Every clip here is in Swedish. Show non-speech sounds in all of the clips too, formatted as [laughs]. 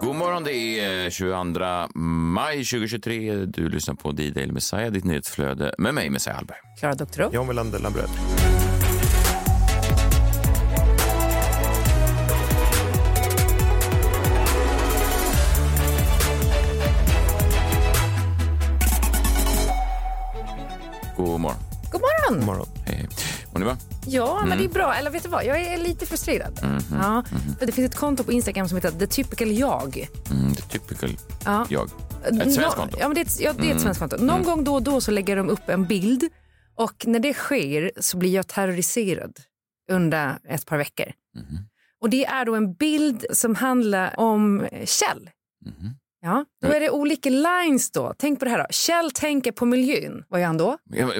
God morgon, det är 22 maj 2023. Du lyssnar på D-Daily Messiah, ditt nyhetsflöde med mig, Messiah Hallberg. Klara Doktorow. John Wilander Lambrell. God morgon. God morgon! Mm. morgon. Hej, hej. Mår ni bra? Ja, men det är bra. Eller vet du vad? Jag är lite frustrerad. Ja, för det finns ett konto på Instagram som heter The Typical Jag. Mm, det är typical Ja. jag. Ett svenskt konto. Ja, men det är ett, ja, det är ett svenskt konto. Någon gång då och då så lägger de upp en bild och när det sker så blir jag terroriserad under ett par veckor. Mm-hmm. Och det är då en bild som handlar om Kjell. Mm-hmm. Ja, då är det olika lines då. Tänk på det här då. Kjell tänker på miljön. Vad gör han då? Jag-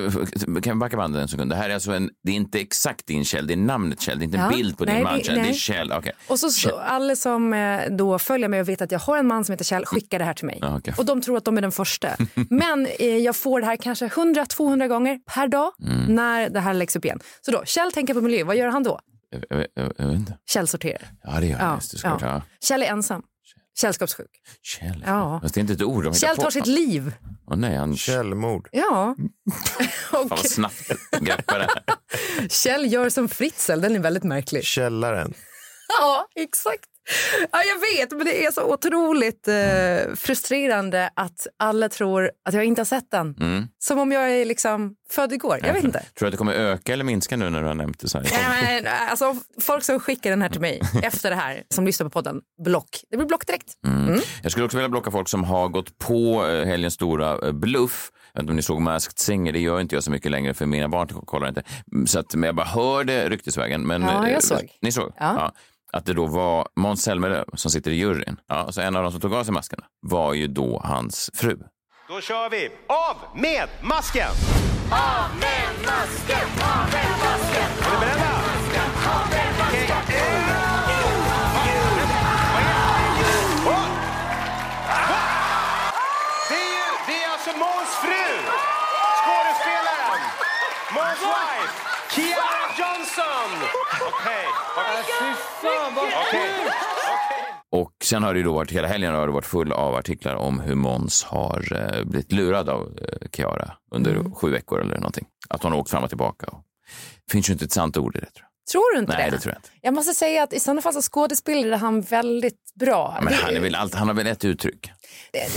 Kan vi backa bandet en sekund? Det här är alltså en, det är inte exakt din Kjell, det är namnet Kjell. Det är inte en Ja. bild på din Nej, man det- Kjell, det är nej. Kjell. Okej. Och så, så alla som eh, då följer mig och vet att jag har en man som heter Kjell skickar det här till mig. Ja, okej. Och de tror att de är den första. [laughs] Men eh, jag får det här kanske 100-200 gånger per dag Mm. när det här läggs upp igen. Så då, Kjell tänker på miljö, vad gör han då? Jag, jag, jag, jag vet inte. Kjell sorterar. Ja, det gör jag. Ja, Just det, ja. såklart. Ja. Kjell är ensam. Källskapssjuk. Kjell. Ja. Fast det är inte ett ord de hittar Kjell på. tar sitt liv. Åh, nej, han... Kjell. Källmord. Ja. [laughs] Fan Och vad snabbt du greppar det här. Kjell gör som Fritzl, den är väldigt märklig. Källaren. [laughs] Ja, exakt. Ja, jag vet, men det är så otroligt eh, frustrerande att alla tror att jag inte har sett den. Mm. Som om jag är liksom född igår. Jag vet [laughs] inte. Tror du att det kommer öka eller minska nu när du har nämnt det så här? Nej, men, alltså, folk som skickar den här [laughs] till mig efter det här, som lyssnar på podden, block. Det blir block direkt. Mm. Mm. Jag skulle också vilja blocka folk som har gått på eh, helgens stora eh, bluff. Jag vet inte om ni såg Masked Singer, det gör inte jag så mycket längre för mina barn kollar inte. Mm, Så att, men jag bara hörde ryktesvägen. Men, Ja, jag eh, såg. Ni såg? Ja. Att det då var Måns Zelmerlöw som sitter i juryn. Ja, så en av de som tog av sig maskerna var ju då hans fru. Då kör vi! Av med masken! Av med masken! Av med masken! Är ni beredda? Okej, en, två, vad är det? Vad är det? Vad är det? Va? Va? Det är ju- det är alltså Måns fru! Skådespelaren! Måns wife! Kiara Johnson! Okej, okej. Okej. Och sen har det ju då varit, hela helgen har det varit full av artiklar om hur Måns har eh, blivit lurad av eh, Kiara under Mm. sju veckor eller någonting. Att hon har åkt fram och tillbaka. Och... Det finns ju inte ett sant ord i det tror jag. Tror du inte Nej, det? det tror jag inte. Jag måste säga att i sådana fall så skådespelade han väldigt bra. Ja, Men Det- han, är väl allt, han har väl ett uttryck?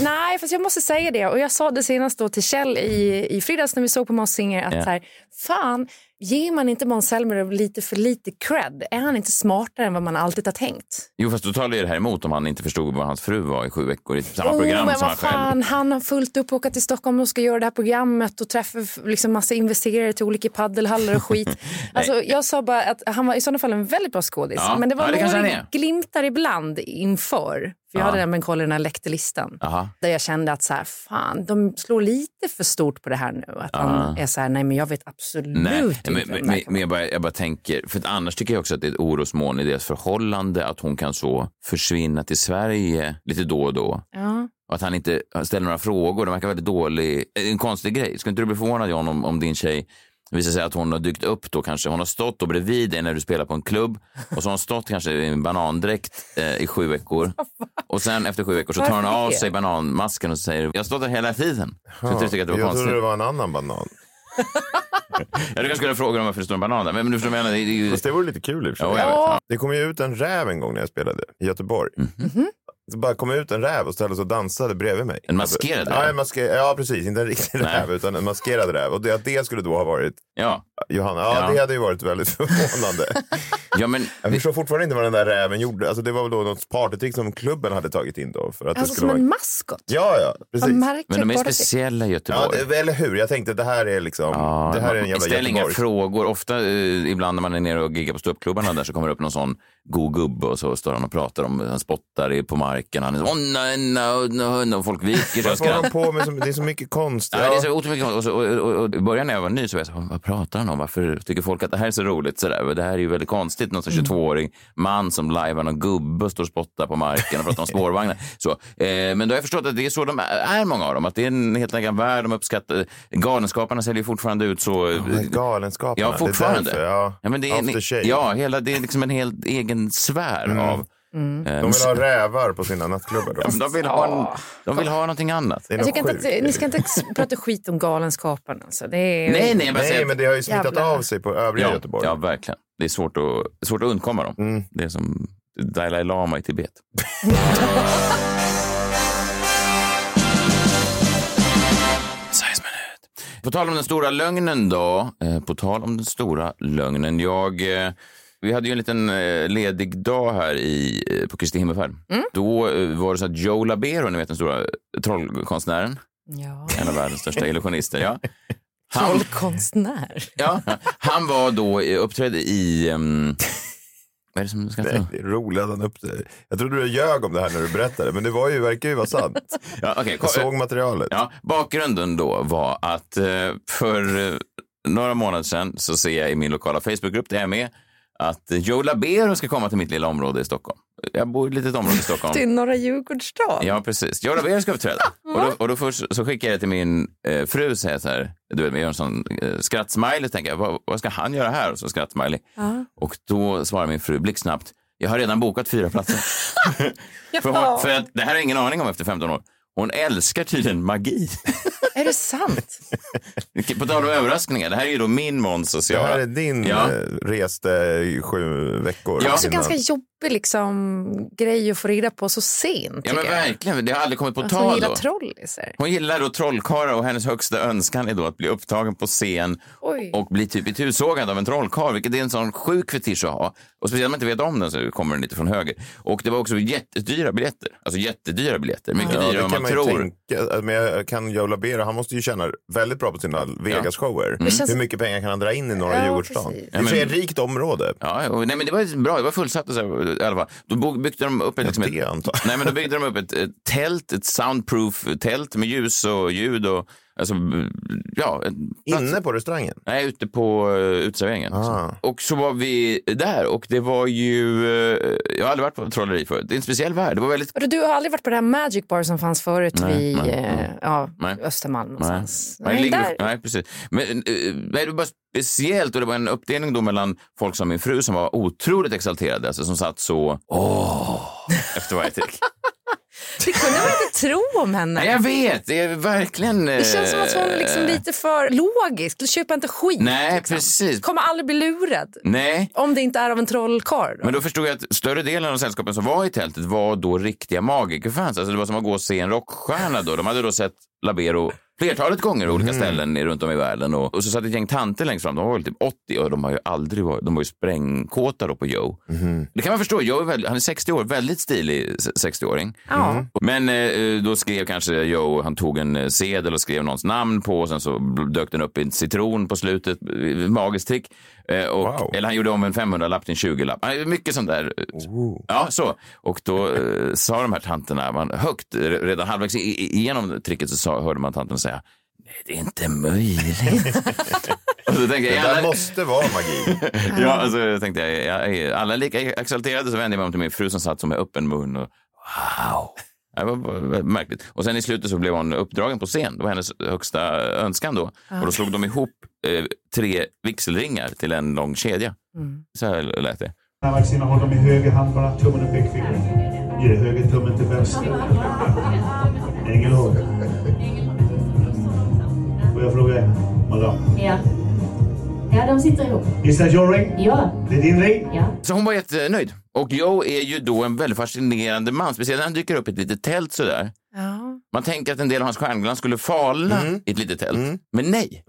Nej, fast jag måste säga det. Och jag sa det senast då till Kjell i, i fredags när vi såg på Måns Singer att Ja. så här, fan, ger man inte Måns Zelmerlöw lite för lite cred? Är han inte smartare än vad man alltid har tänkt? Jo, fast då talar ju det här emot om han inte förstod vad hans fru var i sju veckor i samma program Oh, men som han vad själv. fan, han har fullt upp att åka till Stockholm och ska göra det här programmet och träffa liksom massa investerare till olika paddelhallar och [laughs] skit. alltså, jag sa bara att han var i sådana fall en väldigt bra skådis. Ja, men det ja, var det kanske han några är. glimtar ibland inför. För jag hade nämligen kollat den här läkterlistan. Jaha. Där jag kände att så här, fan, de slår lite för stort på det här nu. Att han är så här, nej men jag vet absolut Nej, inte. men, men, vem det här men, kan men jag, bara, jag bara tänker, för att annars tycker jag också att det är ett orosmoln i deras förhållande att hon kan så försvinna till Sverige lite då och då. vara. ja. Och att han inte ställer några frågor. Det verkar väldigt dålig. Det är En konstig grej. Skulle inte du bli förvånad John om, om din tjej det visar sig att hon har dykt upp då kanske. Hon har stått då bredvid dig när du spelar på en klubb och så har hon stått kanske i en banandräkt eh, i sju [laughs] veckor. Och sen efter sju veckor så tar hon Varför av det? sig bananmasken och så säger jag har stått där hela tiden. Så Ja, jag tycker att det var jag konstigt. trodde det var en annan banan. Jag kanske skulle fråga om varför det står en banan där. Men men du förstår vad jag menar. Det är ju... Fast det vore lite kul i och för sig. Ja, jag vet. Mhm. Ja. Det kom ju ut en räv en gång när jag spelade i Göteborg. Det bara kom ut en räv och ställde sig och dansade bredvid mig. En maskerad Ja, räv? en maske- ja precis. Inte en riktig Nej. räv utan en maskerad räv. Och det, att det skulle då ha varit Ja. Johanna, ja, Ja. [laughs] det hade ju varit väldigt [laughs] förvånande. Ja, men, Jag förstår fortfarande inte vad den där räven gjorde. Alltså, det var väl då något partytrick som klubben hade tagit in då. För att det Alltså skulle som en vara... maskot. Ja, ja, Vad precis. märkligt men de är bara det- speciella i Göteborg. Ja, det, eller hur? Jag tänkte det här är liksom, Ja, det här är en jävla ställ inga Göteborg. frågor. Ofta eh, ibland när man är nere och giggar på ståuppklubbarna där så kommer det upp någon sån god gubbe och så står han och pratar om, han spottar i- på marken. Han är så, oh, no, no, no, no. folk viker sig och Vad håller skrattar. de på med? Som, det är så mycket konst. Ja, det är så otroligt mycket och, så, och, och, och I början när jag var ny så var jag så här, vad pratar han om? Varför tycker folk att det här är så roligt? Så där? Det här är ju väldigt konstigt. Någon som Mm. 22-årig man som lajvar någon gubbe och står och spottar på marken och [laughs] pratar om spårvagnar. Så, eh, men då har jag förstått att det är så de är, många av dem. Att det är en helt annan värld. De uppskattar... Galenskaparna säljer ju fortfarande ut så... Men Galenskaparna. Ja, fortfarande. Det är därför, ja. Ja, men det är, After Shave. en, ja, hela, det är liksom en helt egen sfär av... eh, Mm. De vill ha rävar på sina nattklubbar. Då. men de, vill ha en, de vill ha någonting annat. Det är Alltså, Jag tycker något inte sjukt. att, ni ska inte ex- prata skit om Galenskaparna. Alltså. Det är... Nej, nej, jag bara säger Nej, att- men det har ju smittat Jävlar. av sig på övriga ja, Göteborg. ja, verkligen. Det är svårt att, svårt att undkomma dem. Det är som Dalai Lama i Tibet. Size minute. På tal om den stora lögnen då. Eh, på tal om den stora lögnen. Jag, eh, vi hade ju en liten eh, ledig dag här i, eh, på Kristi himmelsfärd. Då eh, var det så att Joe Labero, ni vet den stora trollkonstnären, Ja. en av världens största illusionister. Ja. Han, Trollkonstnär. Ja, han var då eh, uppträdde i... ehm, vad är det som ska Nej, säga? det är roligt att han upp det. Jag trodde du ljög om det här när du berättade, men det var ju, verkar ju [laughs] vara sant. Ja, okej, kom- Jag såg materialet. ja, bakgrunden då var att eh, för eh, några månader sedan så ser jag i min lokala Facebookgrupp där jag är med att Joe Labero ska komma till mitt lilla område i Stockholm. Jag bor i ett litet område i [laughs] Stockholm. Till Norra Djurgårdsstad. Ja, precis. Joe Labero ska uppträda. Och då, och då först så skickar jag det till min eh, fru och säger så här, du vet, jag gör en sån eh, skrattsmiley och tänker, jag, vad, vad ska han göra här? Och så skrattsmiley. Och då svarar min fru blixtsnabbt, jag har redan bokat fyra [laughs] platser. för, hon, för att, det här har jag ingen aning om efter 15 år. Hon älskar tydligen magi. [laughs] Är det sant? På tal om överraskningar, det här är ju då min Måns och Det här Ciara. är din Ja. eh, reste i sju veckor. Ja. Också innan. Alltså, ganska jobbig liksom, grej att få reda på så sent. Ja, men tycker jag. verkligen. Det har aldrig kommit på Alltså, hon tal gillar då. trollisar. Hon gillar då trollkarlar och hennes högsta önskan är då att bli upptagen på scen Oj. och bli typ itusågad av en trollkarl, vilket är en sån sjuk fetisch att ha. Och speciellt om man inte vet om den så kommer den lite från höger. Och det var också jättedyra biljetter, alltså jättedyra biljetter, mycket Ja, det dyrare än man, kan man ju tror. tänka. Alltså, Men jag kan Joe Labero, han måste ju tjäna väldigt bra på sina Vegas-shower. känns- Hur mycket pengar kan han dra in i norra Ja, Djurgårdsstaden? precis. Det är ett rikt område. Ja, och, nej, men det var bra, det var fullsatt och så här, i alla fall. Då bo- byggde de upp ett, liksom det antar jag. nej, men då byggde de upp ett, ett tält, ett soundproof tält med ljus och ljud och alltså, ja, ett- Inne på restaurangen. Nej, ute på uh, uteserveringen. Ah. Och så var vi där och det var ju... eh, jag har aldrig varit på trolleri förut. Det är en speciell värld. Det var väldigt... Vadå, Du har aldrig varit på det här Magic Bar som fanns förut vid eh, ja, Nej. Östermalm någonstans? Alltså, Nej, det ligger- där. nej precis. Men, eh, nej, det var bara speciellt och det var en uppdelning då mellan folk som min fru som var otroligt exalterade, alltså som satt så... Åh! [laughs] Efter varje trick. Det kunde man inte tro om henne. nej, jag vet! Det är verkligen... eh, Det känns som att hon är liksom lite för logisk. Du köper inte skit. Nej, liksom. precis. Kommer aldrig bli lurad. Nej. Om det inte är av en trollkarl. då. Men då förstod jag att större delen av sällskapen som var i tältet var då riktiga magikerfans. Alltså det var som att gå och se en rockstjärna då. De hade då sett Labero flertalet gånger i olika ställen i- runt om i världen. Och, och så satt ett gäng tanter längst fram. De var väl typ 80 och de har ju aldrig varit, de var ju sprängkåta då på Joe. Det kan man förstå. Joe är väl, han är 60 år, väldigt stilig se- 60-åring. Ja. Men eh, då skrev kanske Joe, han tog en eh, sedel och skrev någons namn på och sen så bl- dök den upp i en citron på slutet. Eh, Magiskt trick. Eh, och, Wow. Eller han gjorde om en 500-lapp till en 20-lapp. Eh, Mycket sånt där. Oh. Ja, så. Och då eh, sa de här tanterna man, högt, eh, redan halvvägs i- i- igenom tricket så sa, hörde man tanten säga Nej, det är inte möjligt. [laughs] och så tänkte jag, Det där "Jävlar." måste vara magi. [laughs] Ja, alltså, jag tänkte jag, jag, är alla är lika exalterade så vände jag mig om till min fru som satt som med öppen mun och wow. Det var bara väldigt märkligt. Och sen i slutet så blev hon uppdragen på scen. Det var hennes högsta önskan då. Och då slog de ihop eh, tre vigselringar till en lång kedja. Så här lät det. Den här vaccinen håller de i höger hand bara, tummen och pekfingret. Ger höger tummen till vänster. Ängelholm. Får jag fråga er, madam? Ja. Ja, de sitter ihop. Is that your ring? Ja. Det är din ring? Ja. Så hon var jättenöjd. Och Joe är ju då en väldigt fascinerande man. Speciellt när han dyker upp i ett litet tält sådär. Ja. Man Mm. Mhm, tänker att en del av hans stjärnglans skulle falna i ett litet tält. Men nej.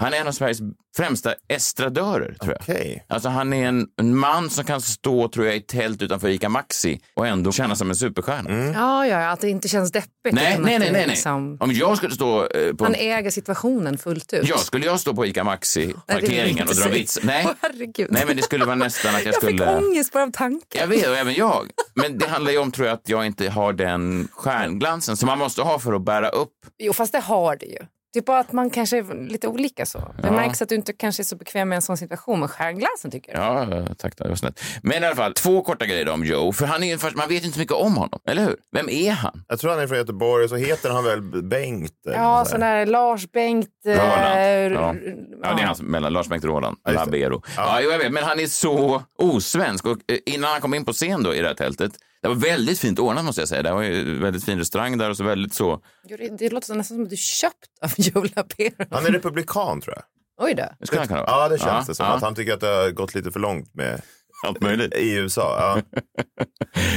Han är en av Sveriges främsta estradörer, tror jag. Okej. Alltså han är en, en man som kan stå, tror jag, i tält utanför ICA Maxi och ändå känna som en superstjärna. Ja, ja, ja, att det inte känns deppigt. Nej, nej, utan att nej, Mm. det nej, nej. liksom- Om jag skulle stå eh, på... Han En, äger situationen fullt ut. [laughs] ja, skulle jag stå på ICA Nej, det vill jag Maxi-parkeringen inte och dra säga. vits? Nej. Åh, herregud. nej, men det skulle vara nästan att jag, [laughs] Jag skulle... fick ångest bara av tanken. Jag vet, och även jag. Men det handlar ju om tror jag, att jag inte har den stjärnglansen som man måste ha för att bära upp. Jo, fast det har det ju. Det är bara att man kanske är lite olika så. Det märks att du inte kanske är så bekväm med en sån situation, men stjärnglansen tycker jag. Ja, tack. Det var snällt. Men i alla fall, två korta grejer om Joe. För han är ju, först- man vet ju inte så mycket om honom, eller hur? Vem är han? Jag tror han är från Göteborg, så heter han väl Bengt? eller Ja, något sån där. där Lars Bengt... eh, Roland. Ja. r- Ja, det är hans mellan Lars Bengt Roland, just det. Labero. Ja, jo, jag vet. Men han är så osvensk. Och eh, innan han kom in på scen då i det här tältet, det var väldigt fint ordnat måste jag säga. Det var ju väldigt fin restaurang där och så väldigt så. Jo, det- Det låter nästan som att du köpt av [laughs] Joe Labero. Han är republikan tror jag. Oj då. Det skulle han kunna vara. Ja, det känns det som. ja. Att han tycker att det har gått lite för långt med Allt möjligt. i USA. Ja.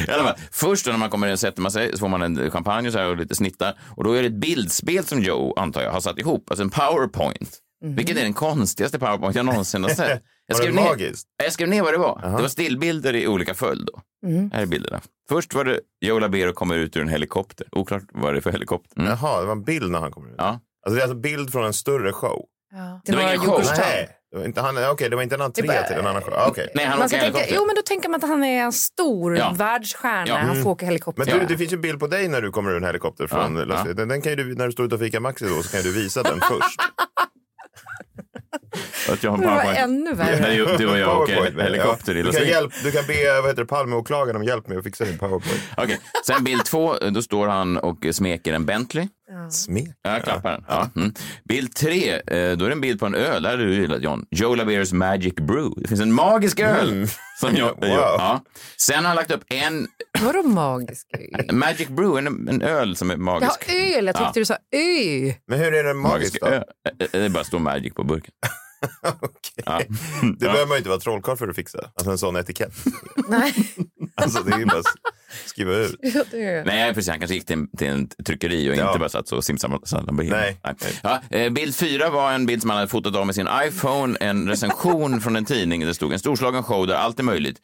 I alla fall, först då när man kommer in sätter man sig så får man en champagne och, så här, och lite snittar. Och då är det ett bildspel som Joe, antar jag, har satt ihop. Alltså en powerpoint. Mhm. Vilket är den konstigaste powerpoint jag någonsin har [laughs] sett. Jag Var det skrev, ner, magiskt? jag skrev ner vad det var. Det var stillbilder i olika följd. Då. Mhm. Här är bilderna. Först var det Joe Labero kommer ut ur en helikopter. Oklart vad det är för helikopter. Mm. Jaha, det var en bild när han kom ut. Ja. Alltså, det är alltså en bild från en större show. Det var var ingen show. Jokerstown. Nej, det var inte, han, okej, det var inte en entré Det är bara- till en annan show. Ah, okej. Nej, han Man åker ska tänka, helikopter. jo, men då tänker man att han är en stor Ja. världsstjärna. Ja. Mm. Han får åka helikopter. Men du, det finns ju en bild på dig när du kommer ur en helikopter från Ja, Las ja. Vegas. Den, den kan ju du, när du står utanför ICA Maxi då, så kan ju du [laughs] visa den först. Att jag har en det var powerpoint. ännu värre. När ju- du och [laughs] jag PowerPoint, åker men, helikopter ja. i du Las kan, Vegas. hjälp, du kan be vad heter det, Palmeåklagaren om hjälp med att fixa din powerpoint. Okej, Sen bild två, då står han och smeker en Bentley. Smek. Ja, klappar den. Ja. Mm. Bild tre, eh, då är det en bild på en öl. Där hade du gillat John. Joe Laberos Magic Brew. Det finns en magisk öl. Som jag, Wow. ja. Sen har han lagt upp en Vadå magisk [laughs] ö? Magic Brew, en, en öl som är Ja, magisk. öl. Jag tyckte Ja. du sa ö. Men hur är det magisk magiskt då? [laughs] öl. Eh, eh, Det är bara står Magic på burken. Okej. Ja. Det behöver man ju inte vara trollkarl för att fixa. Alltså en [laughs] sån etikett. [laughs] Nej, Alltså det är ju bara att skriva ut. ö. Nej, precis. Han kanske gick till en, till en tryckeri och Ja. inte bara satt så och simsalabim. Nej. Ja, eh, bild fyra var en bild som han hade fotat av med sin iPhone. En recension från en tidning. där Det stod en storslagen show där allt är möjligt.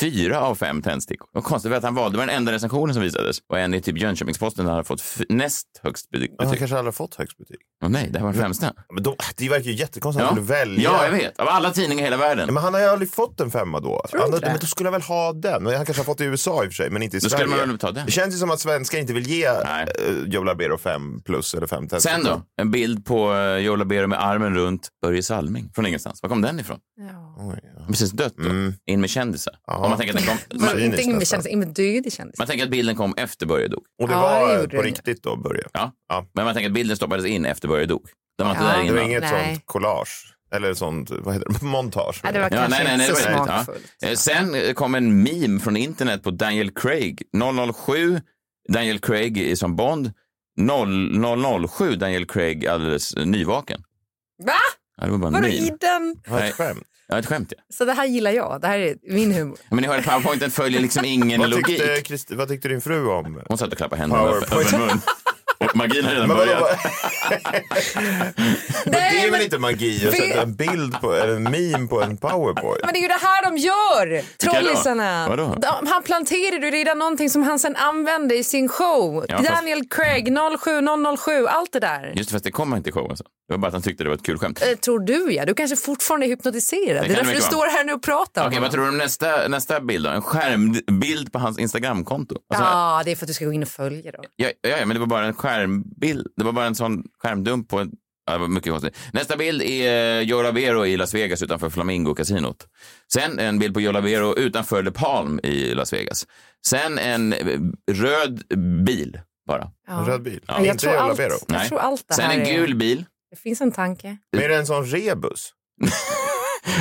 Fyra av fem tändstickor. Och konstigt var att han valde var den enda recensionen som visades. Och en i typ Jönköpingsposten där han hade fått f- näst högst betyg. Han betyg. kanske aldrig har fått högst betyg. Åh nej, det här var den främsta. Men då, det verkar ju jättekonstigt att Ja. han skulle välja. ja, jag vet. Av alla tidningar i hela världen. Nej, Men han har ju aldrig fått en femma då. du Han, inte det? men då skulle han väl ha den. Men Han kanske har fått det i USA i och för sig, men inte Då i skulle Sverige. man väl ta den. Det känns ju som att svenskar inte vill ge Nej. uh, Joe Labero 5 plus eller 5 Sen då, en bild på eh, Joe Labero med armen runt Börje Salming från ingenstans. Var kom den ifrån? Ja. Oj, ja. Han har Precis dött då. In med kändisar. Mm. Ja. Om man tänker att den [laughs] kom, Man, Cyniskt inte in med nästan. kändis, in med död kändis. Man tänker att bilden kom efter Börje dog. Och det Ja, det var eh, gjorde på det. riktigt då, Börje. Ja. Ja. Men man tänker att bilden stoppades in efter Börje dog. Den var inte Ja. där Det var innan. inget Nej. sånt collage. Eller sånt, vad heter det, [laughs] montage. Ja, det var Ja, nej, kanske nej, nej, det inte så var inte. Ja. smakfullt. Eh, Sen eh, kom en meme från internet på Daniel Craig. 007 Daniel Craig i- som Bond. 0, 007 Daniel Craig alldeles eh, nyvaken. Va? Ja, det var bara en Vadå meme. i den? Det var ett Nej. skämt. Ja, ett skämt ja. Så det här gillar jag. Det här är min [laughs] humor. Men ni hör att powerpointen följer liksom ingen [laughs] Vad logik. tyckte, Christi- vad tyckte din fru om? Hon satt och klappade händerna över Powerpoint. över mun. Och magin har redan Men, vadå, vad- börjat. men det är men- väl inte magi att Fy- sätta en bild på, eller en meme på en powerpoint? Men det är ju det här de gör, trollisarna. Vilka då? Vadå? De- Han planterade ju redan någonting som han sen använde i sin show. Ja, fast- Mm. Daniel Craig, 07007, allt det där. Just det, fast det kom inte i showen sen. Det var bara att han tyckte det var ett kul skämt. Eh, tror du ja, du kanske fortfarande är hypnotiserad. Det, kan är det därför du mycket står här nu och pratar om Okej, vad honom. tror du om nästa, nästa bild då? En skärmbild på hans Instagramkonto. Alltså, Ja, det är för att du ska gå in och följa dem. ja, ja, ja, men det var bara en skärmbild. Det var bara en sån skärmdump på en... Ja, det var mycket konstigt. Nästa bild är eh, Joe Labero i Las Vegas utanför Flamingo-kasinot. Sen en bild på Joe Labero utanför Le Palm i Las Vegas. Sen en eh, röd bil bara. En Ja. röd bil? Men jag inte tror Joe allt- Labero. Jag tror allt det Sen här en är- gul bil. Det finns en tanke. Men är det en sån rebus? [laughs]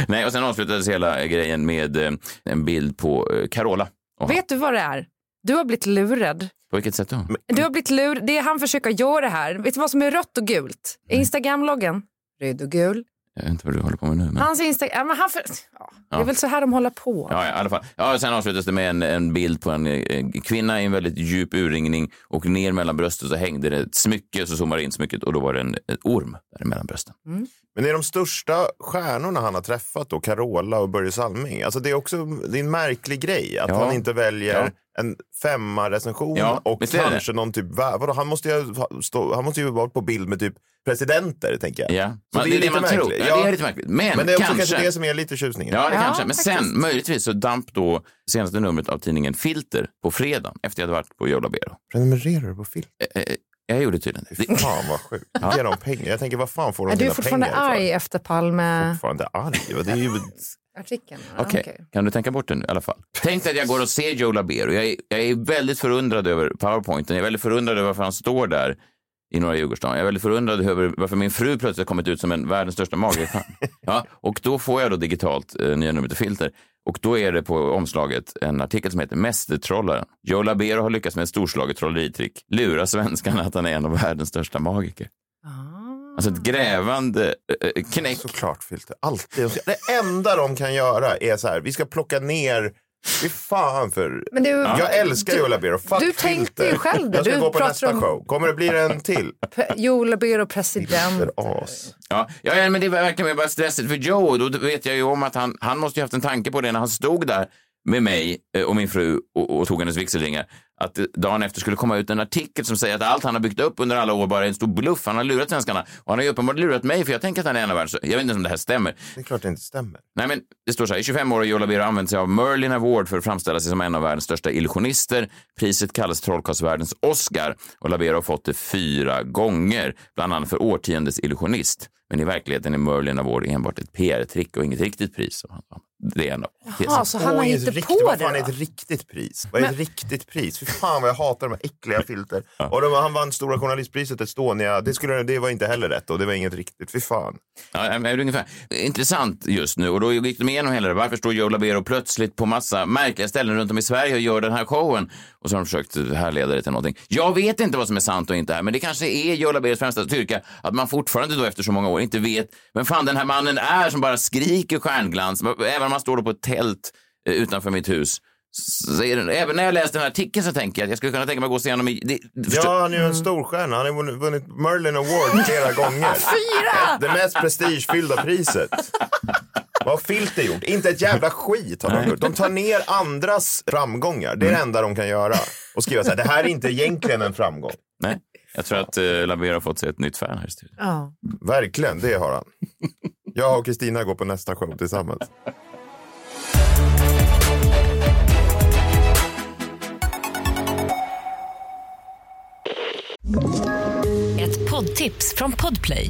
Nej, och sen avslutades hela grejen med eh, en bild på eh, Carola. Och han- Vet du vad det är? Du har blivit lurad. På vilket sätt då? Du har blivit lur. Det är han försöker göra här. Vet du vad som är rött och gult? Instagram-loggen. Röd och gul. Jag vet inte vad du håller på med nu. Men... Hans Instagram, ja, men han för... ja, det är väl så här de håller på. Ja, ja, i alla fall. Ja, sen avslutas det med en, en bild på en eh, kvinna i en väldigt djup urringning och ner mellan brösten så hängde det ett smycke, så zoomade det in smycket och då var det en, en orm där mellan brösten. Mm. Men det är de största stjärnorna han har träffat då, Carola och Börje Salming. Alltså det är också det är en märklig grej att Ja. han inte väljer en femma-recension Ja, och visst är det. kanske någon typ, va- vadå, han måste ju ha stå, han måste ju vara på bild med typ presidenter, tänker jag. Ja, Så men det är det man tror. Ja, det är lite märkligt. Men Men det är också kanske, kanske- det som är lite tjusningen. Ja, det Ja, kanske. Men faktiskt. sen, möjligtvis, så damp då senaste numret av tidningen Filter på fredag efter jag hade varit på Joe Labero. Prenumererar du på film? Eh, eh, jag gjorde tydligen [laughs] det. Fy fan vad sjukt. Ge dem pengar. Jag tänker, vad fan får de Är du sina fortfarande pengar arg efter Palme-artikeln? Fortfarande arg? Va, Det är ju... Ja, Okej, okej. kan du tänka bort det nu i alla fall? Tänk dig att jag går och ser Joe Labero. Jag är, jag är väldigt förundrad över powerpointen. Jag är väldigt förundrad över varför han står där i Norra Djurgårdsstaden. Jag är väldigt förundrad över varför min fru plötsligt har kommit ut som en världens största [laughs] magerfan. ja, och då får jag då digitalt eh, nya numret och filter. Och då är det på omslaget en artikel som heter Mästertrollaren. Joe Labero har lyckats med ett storslaget trolleritrick. Lura svenskarna att han är en av världens största magiker. Ah. Alltså ett grävande eh, eh, knäck. Såklart filter. Alltid. Det enda de kan göra är så här, vi ska plocka ner... Fy fan för... Men du, Jag älskar Joe Labero. Fuck du filter. tänkte ju själv det. Jag ska Du gå på pratar nästa om- show. Kommer det bli en till? Pe- Joe Labero president. För as. Ja, ja, ja, men det var verkligen bara stressigt för Joe. Då vet jag ju om att han, han måste ju haft en tanke på det när han stod där med mig eh, och min fru och, och tog hennes vigselringar. Att eh, dagen efter skulle komma ut en artikel som säger att allt han har byggt upp under alla år bara är en stor bluff. Han har lurat svenskarna. Och han har ju uppenbart lurat mig, för jag tänker att han är en av världens... Jag vet inte ens om det här stämmer. Det är klart det inte stämmer. Nej, men det står så här. I 25 år har Joe Labero använt sig av Merlin Award för att framställa sig som en av världens största illusionister. Priset kallas trollkarlsvärldens Oscar och Labero har fått det fyra gånger, bland annat för årtiondets illusionist. Men i verkligheten är Merlin Award enbart ett PR-trick och inget riktigt pris. som han vann. Det är en av Ja, så Alltså, han har Oj, ett hittat riktigt, på vad det. fan är ett va? riktigt pris? Vad är ett riktigt pris? Fy fan vad jag hatar de här äckliga filter. Och de, han vann Stora Journalistpriset Estonia. Det, skulle, det var inte heller rätt och det var inget riktigt. Fy fan. Ja, men det är ungefär. Intressant just nu. Och då gick de igenom hela det. Varför står Joe Labero plötsligt på massa märkliga ställen runt om i Sverige och gör den här showen? Och så har de försökt härleda det till någonting. Jag vet inte vad som är sant och inte här, men det kanske är Joe Laberos främsta styrka att man fortfarande då efter så många år inte vet vem fan den här mannen är som bara skriker stjärnglans. Även om man står då på ett tält eh, utanför mitt hus. Så är det, även när jag läste den här artikeln så tänker jag att jag skulle kunna tänka mig att gå och se honom i... Det, förstå- Ja, han är Mm. ju en storstjärna. Han har vunnit- vunnit Merlin Award flera [laughs] gånger. Fyra! Det mest prestigefyllda priset. Vad har Filter gjort? Inte ett jävla skit har de gjort. De tar ner andras framgångar. Det är det Mm. enda de kan göra. Och skriva så här, det här är inte egentligen en framgång. Nej, jag tror att eh, Labero har fått sig ett nytt fan här i studion. Ja. Verkligen, det har han. Jag och Kristina går på nästa show tillsammans. Ett poddtips från Podplay.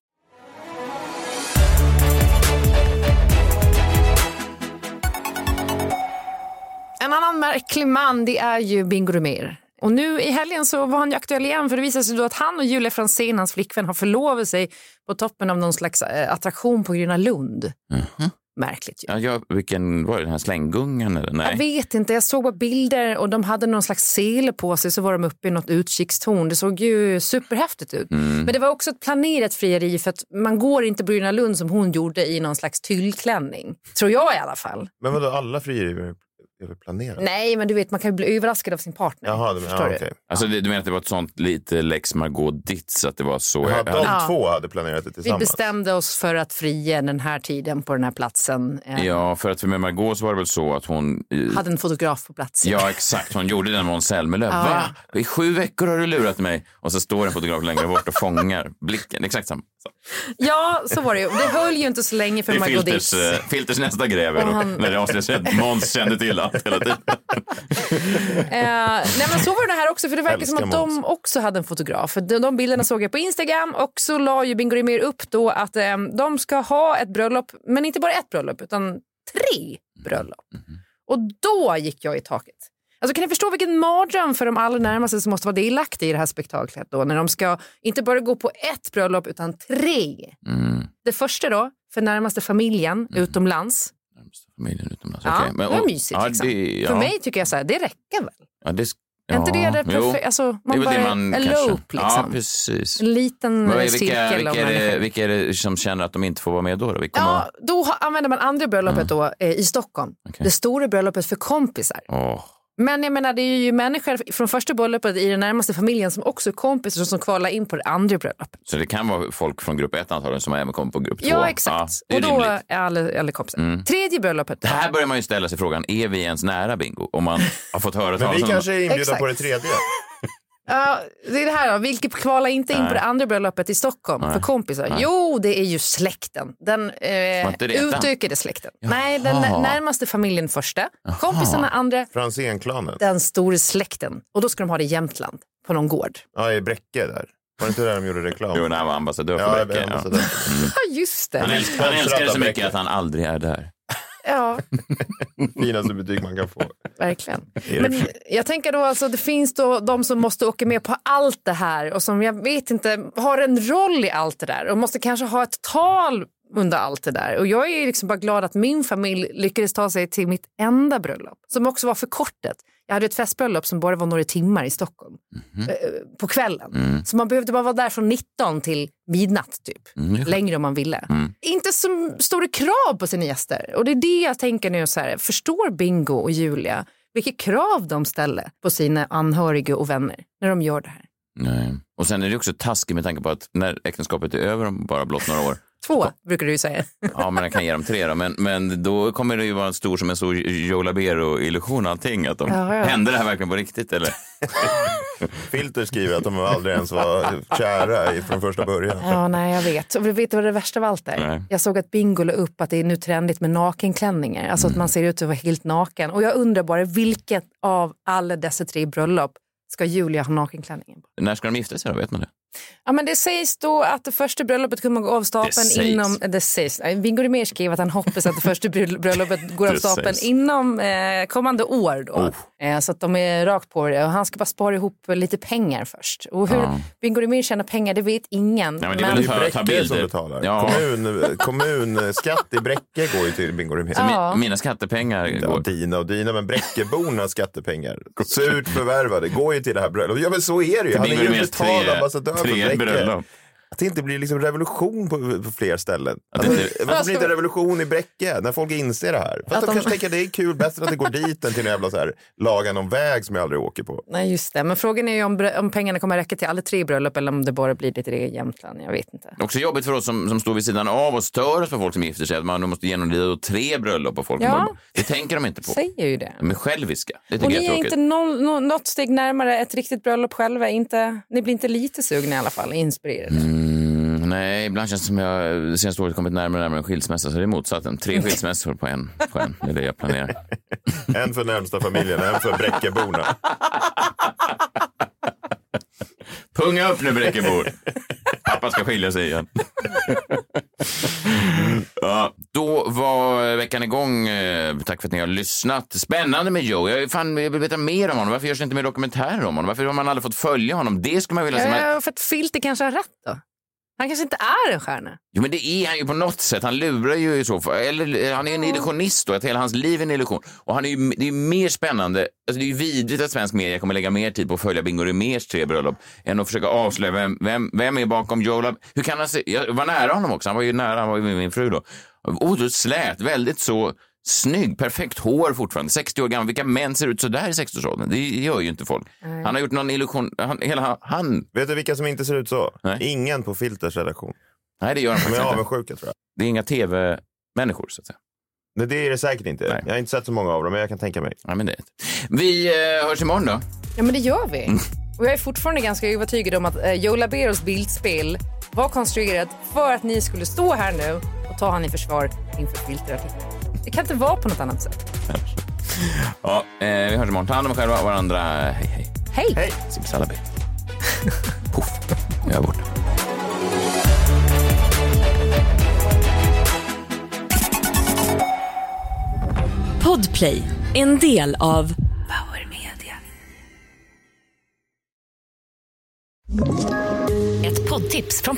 En annan märklig man det är ju Bingo Rimér. Och nu i helgen så var han ju aktuell igen för det visade sig då att han och Julia Franzén, hans flickvän, har förlovat sig på toppen av någon slags eh, attraktion på Gröna Lund. Märkligt ju. Ja, jag, vilken var det, den här slänggungan? Eller? Nej. Jag vet inte, jag såg bara bilder och de hade någon slags sele på sig så var de uppe i något utkikstorn. Det såg ju superhäftigt ut. Mm. Men det var också ett planerat frieri för att man går inte på Gröna Lund som hon gjorde i någon slags tyllklänning. Tror jag i alla fall. Men vadå, alla frierier är väl planerade? Nej, men du vet man kan ju bli överraskad av sin partner. Jaha, det, Förstår ja, du? okej. Alltså, det, du menar att det var ett sånt lite lex Margaux ditt att det var så... Jaha, ja, de två hade planerat det Vi tillsammans. bestämde oss för att fria den här tiden på den här platsen. Eh, ja, för att för med Margaux så var det väl så att hon... eh, Hade en fotograf på plats. Ja, exakt. Hon gjorde den med Måns Zelmerlöw. Ja, Va? I sju veckor har du lurat mig. Och så står en fotograf längre bort och fångar blicken. Exakt samma. Ja, så var det ju. Det höll ju inte så länge för Det är Margot filters, Ditz. eh, filters nästa grej. Och då, han- När det avslöjas att Måns kände till allt hela tiden. Eh, nej men så var det här också, för det verkar som Älskar att de också hade en fotograf. För de, de bilderna såg jag på Instagram och så la ju Bingo Rimér upp då att eh, de ska ha ett bröllop, men inte bara ett bröllop utan tre bröllop. Mm, Och då gick jag i taket. Alltså kan ni förstå vilken mardröm för de allra närmaste som måste vara delaktiga i det här spektaklet då när de ska inte bara gå på ett bröllop utan tre. Mm. Det första då, för närmaste familjen utomlands. Familjen utomlands. Ja, Okej, men- det var och- mysigt ja, liksom. det- ja. För mig tycker jag så här, det räcker väl? Ja, det, sk- Är inte det det jo. perfekta? Alltså, man väl bara elope kanske- liksom. Ja, precis. En liten Men vad är- vilka, cirkel av vilka, är det, människor. vilka är det som känner att de inte får vara med då? då? Vilka Ja, då ha- använder man andra Mm. bröllopet då, eh, i Stockholm. Det stora bröllopet för kompisar. Var... Åh. Men jag menar, det är ju människor från första bröllopet i den närmaste familjen som också är kompisar som kvalar in på det andra bröllopet. Så det kan vara folk från grupp ett antagligen som även kommer på grupp två. Ja, exakt. det är och då rimligt. är alla, alla kompisar. Mm. Tredje bröllopet. Det här börjar man ju ställa sig frågan, är vi ens nära bingo? Om man har fått höra [laughs] Men vi om- kanske är inbjudna Exakt. på det tredje. Ja, det är det här då. Vilket kvalar inte in Nej. på det andra bröllopet i Stockholm Nej. för kompisar? Nej. Jo, det är ju släkten. Den eh, Var inte det den? utökade släkten. Nej, den Jaha. nä- närmaste familjen första, kompisarna andra, Franzén-klanen. den stora släkten. Och då ska de ha det i Jämtland, på någon gård. Ja, i Bräcke där. Var det inte där de gjorde reklam? [laughs] Jo, när han var ambassadör för Ja, jag Bräcke. blev ja. ambassadör. Ja, just Han, det. älsk, han älskar det så Bräcke. mycket att han aldrig är där. Ja, Mm. Finaste betyg man kan få. verkligen. Är [laughs] det Men jag tänker då alltså, det finns då de som måste åka med på allt det här och som jag vet inte har en roll i allt det där och måste kanske ha ett tal under allt det där. Och jag är liksom bara glad att min familj lyckades ta sig till mitt enda bröllop som också var förkortat. Jag hade ett festbröllop som bara var några timmar i Stockholm eh, på kvällen. Så man behövde bara vara där från 19 till midnatt typ. Längre om man ville. Inte så stora krav på sina gäster. Och det är det jag tänker nu så här, förstår Bingo och Julia vilka krav de ställer på sina anhöriga och vänner när de gör det här? Nej. Och sen är det också taskigt med tanke på att när äktenskapet är över om bara blott några [laughs] år, Två brukar du ju säga. ja men jag kan ge dem tre då, men, men då kommer det ju vara en stor som en stor Joe Labero-illusion allting. Att de, Ja, ja. Hände det här verkligen på riktigt eller? Filter skriver att de aldrig ens var kära i- från första början. Ja, nej, jag vet. Och vet du vad det värsta av allt är? Nej. Jag såg att Bingo la upp att det är nu trendigt med nakenklänningar. Alltså att man ser ut att vara helt naken. Och jag undrar bara, vilket av alla dessa tre bröllop ska Julia ha nakenklänningen på? När ska de gifta sig då? Vet man det? Ja, men det sägs då att det första bröllopet kommer att gå av Det stapeln sägs. inom... eh, Det sägs. Nej, Bingo Rimér skrev att han hoppas att det [laughs] första bröll- bröllopet går av Det stapeln sägs. inom eh, kommande år. Då. Oh. Eh, så att de är rakt på det. Och han ska bara spara ihop lite pengar först. Och hur Ja. Bingo Rimér tjänar pengar, det vet ingen. Nej, men det är väl för att ta Bräcke som bilder. betalar. Ja. Kommun, kommunskatt i Bräcke går ju till Bingo Rimér. Så mi- Ja. mina skattepengar går. Ja, dina och dina, [laughs] men Bräckebornas skattepengar, surt förvärvade, går ju till det här bröllopet. Ja, men så är det ju. Till Han är Bingo ju Rimérs betald tre- ambassadör för tre Bräcke. bröllop. Att det inte blir liksom revolution på, på fler ställen. Att det alltså, inte- varför blir det inte revolution i Bräcke när folk inser det här? För att, Att de, de- kanske tänker att det är kul, bättre att [laughs] det går dit än till en jävla så här, laga någon väg som jag aldrig åker på. Nej, just det. Men frågan är ju om, brö- om pengarna kommer räcka till alla tre bröllop eller om det bara blir lite det i Jämtland. Jag vet inte. Också jobbigt för oss som, som står vid sidan av och stör oss på folk som gifter sig, att man måste genomlida då tre bröllop och folk. Ja. Ja. Det tänker de inte på. Säger ju det. De är själviska. Det Och tycker jag ni är är tråkigt. inte någon, nå- något steg närmare ett riktigt bröllop själva. Inte, ni blir inte lite sugna i alla fall, inspirerade. Mm, nej, ibland känns det som jag det senaste året kommit närmare och närmare en skilsmässa, så det är motsatsen. Mm. Tre skilsmässor på en. På en. Det är det jag planerar. En för närmsta familjen, en för Bräckeborna. [laughs] Punga upp nu Bräckebor! Pappa ska skilja sig igen. ja, då var veckan igång. Eh, Tack för att ni har lyssnat. Spännande med Joe. Jag, är fan, jag vill veta mer om honom. Varför görs det inte mer dokumentärer om honom? Varför har man aldrig fått följa honom? Det skulle man vilja se. Men- Ja, Eh, för att Filter kanske har rätt då. Han kanske inte är en stjärna. Jo, men det är han ju på något sätt. Han lurar ju i så fall. Eller eh, han är en illusionist då, att hela hans liv är en illusion. Och han är ju, det är ju mer spännande. Alltså, det är ju vidrigt att svensk media kommer lägga mer tid på att följa Bingo Rimérs tre bröllop än att försöka avslöja vem, vem, vem är bakom Joe Lab- Hur kan han se? Jag var nära honom också. Han var ju nära, han var ju med min fru då. Otroligt slät, väldigt så snygg, perfekt hår fortfarande. 60 år gammal. Vilka män ser ut så där i 60-årsåldern? Det gör ju inte folk. Nej. Han har gjort någon illusion. Han, hela han. Vet du vilka som inte ser ut så? Ingen på Filters redaktion. Nej, det gör han De är faktiskt inte. avundsjuka tror jag. Det är inga tv-människor så att säga. Nej, det är det säkert inte. Jag har inte sett så många av dem, men jag kan tänka mig. Ja, men det. Vi eh, hörs imorgon då. Ja, men det gör vi. Och jag är fortfarande ganska övertygad om att eh, Joe Laberos bildspel var konstruerat för att ni skulle stå här nu och ta han i försvar inför filterartikeln. Det kan inte vara på något annat sätt. Ja, eh, vi hörs imorgon. Ta hand om er själva och varandra. Hej, hej. Hej! Hej! Simsalabim. Puff. Jag är borta. Podplay, en del av Power Media. Ett poddtips från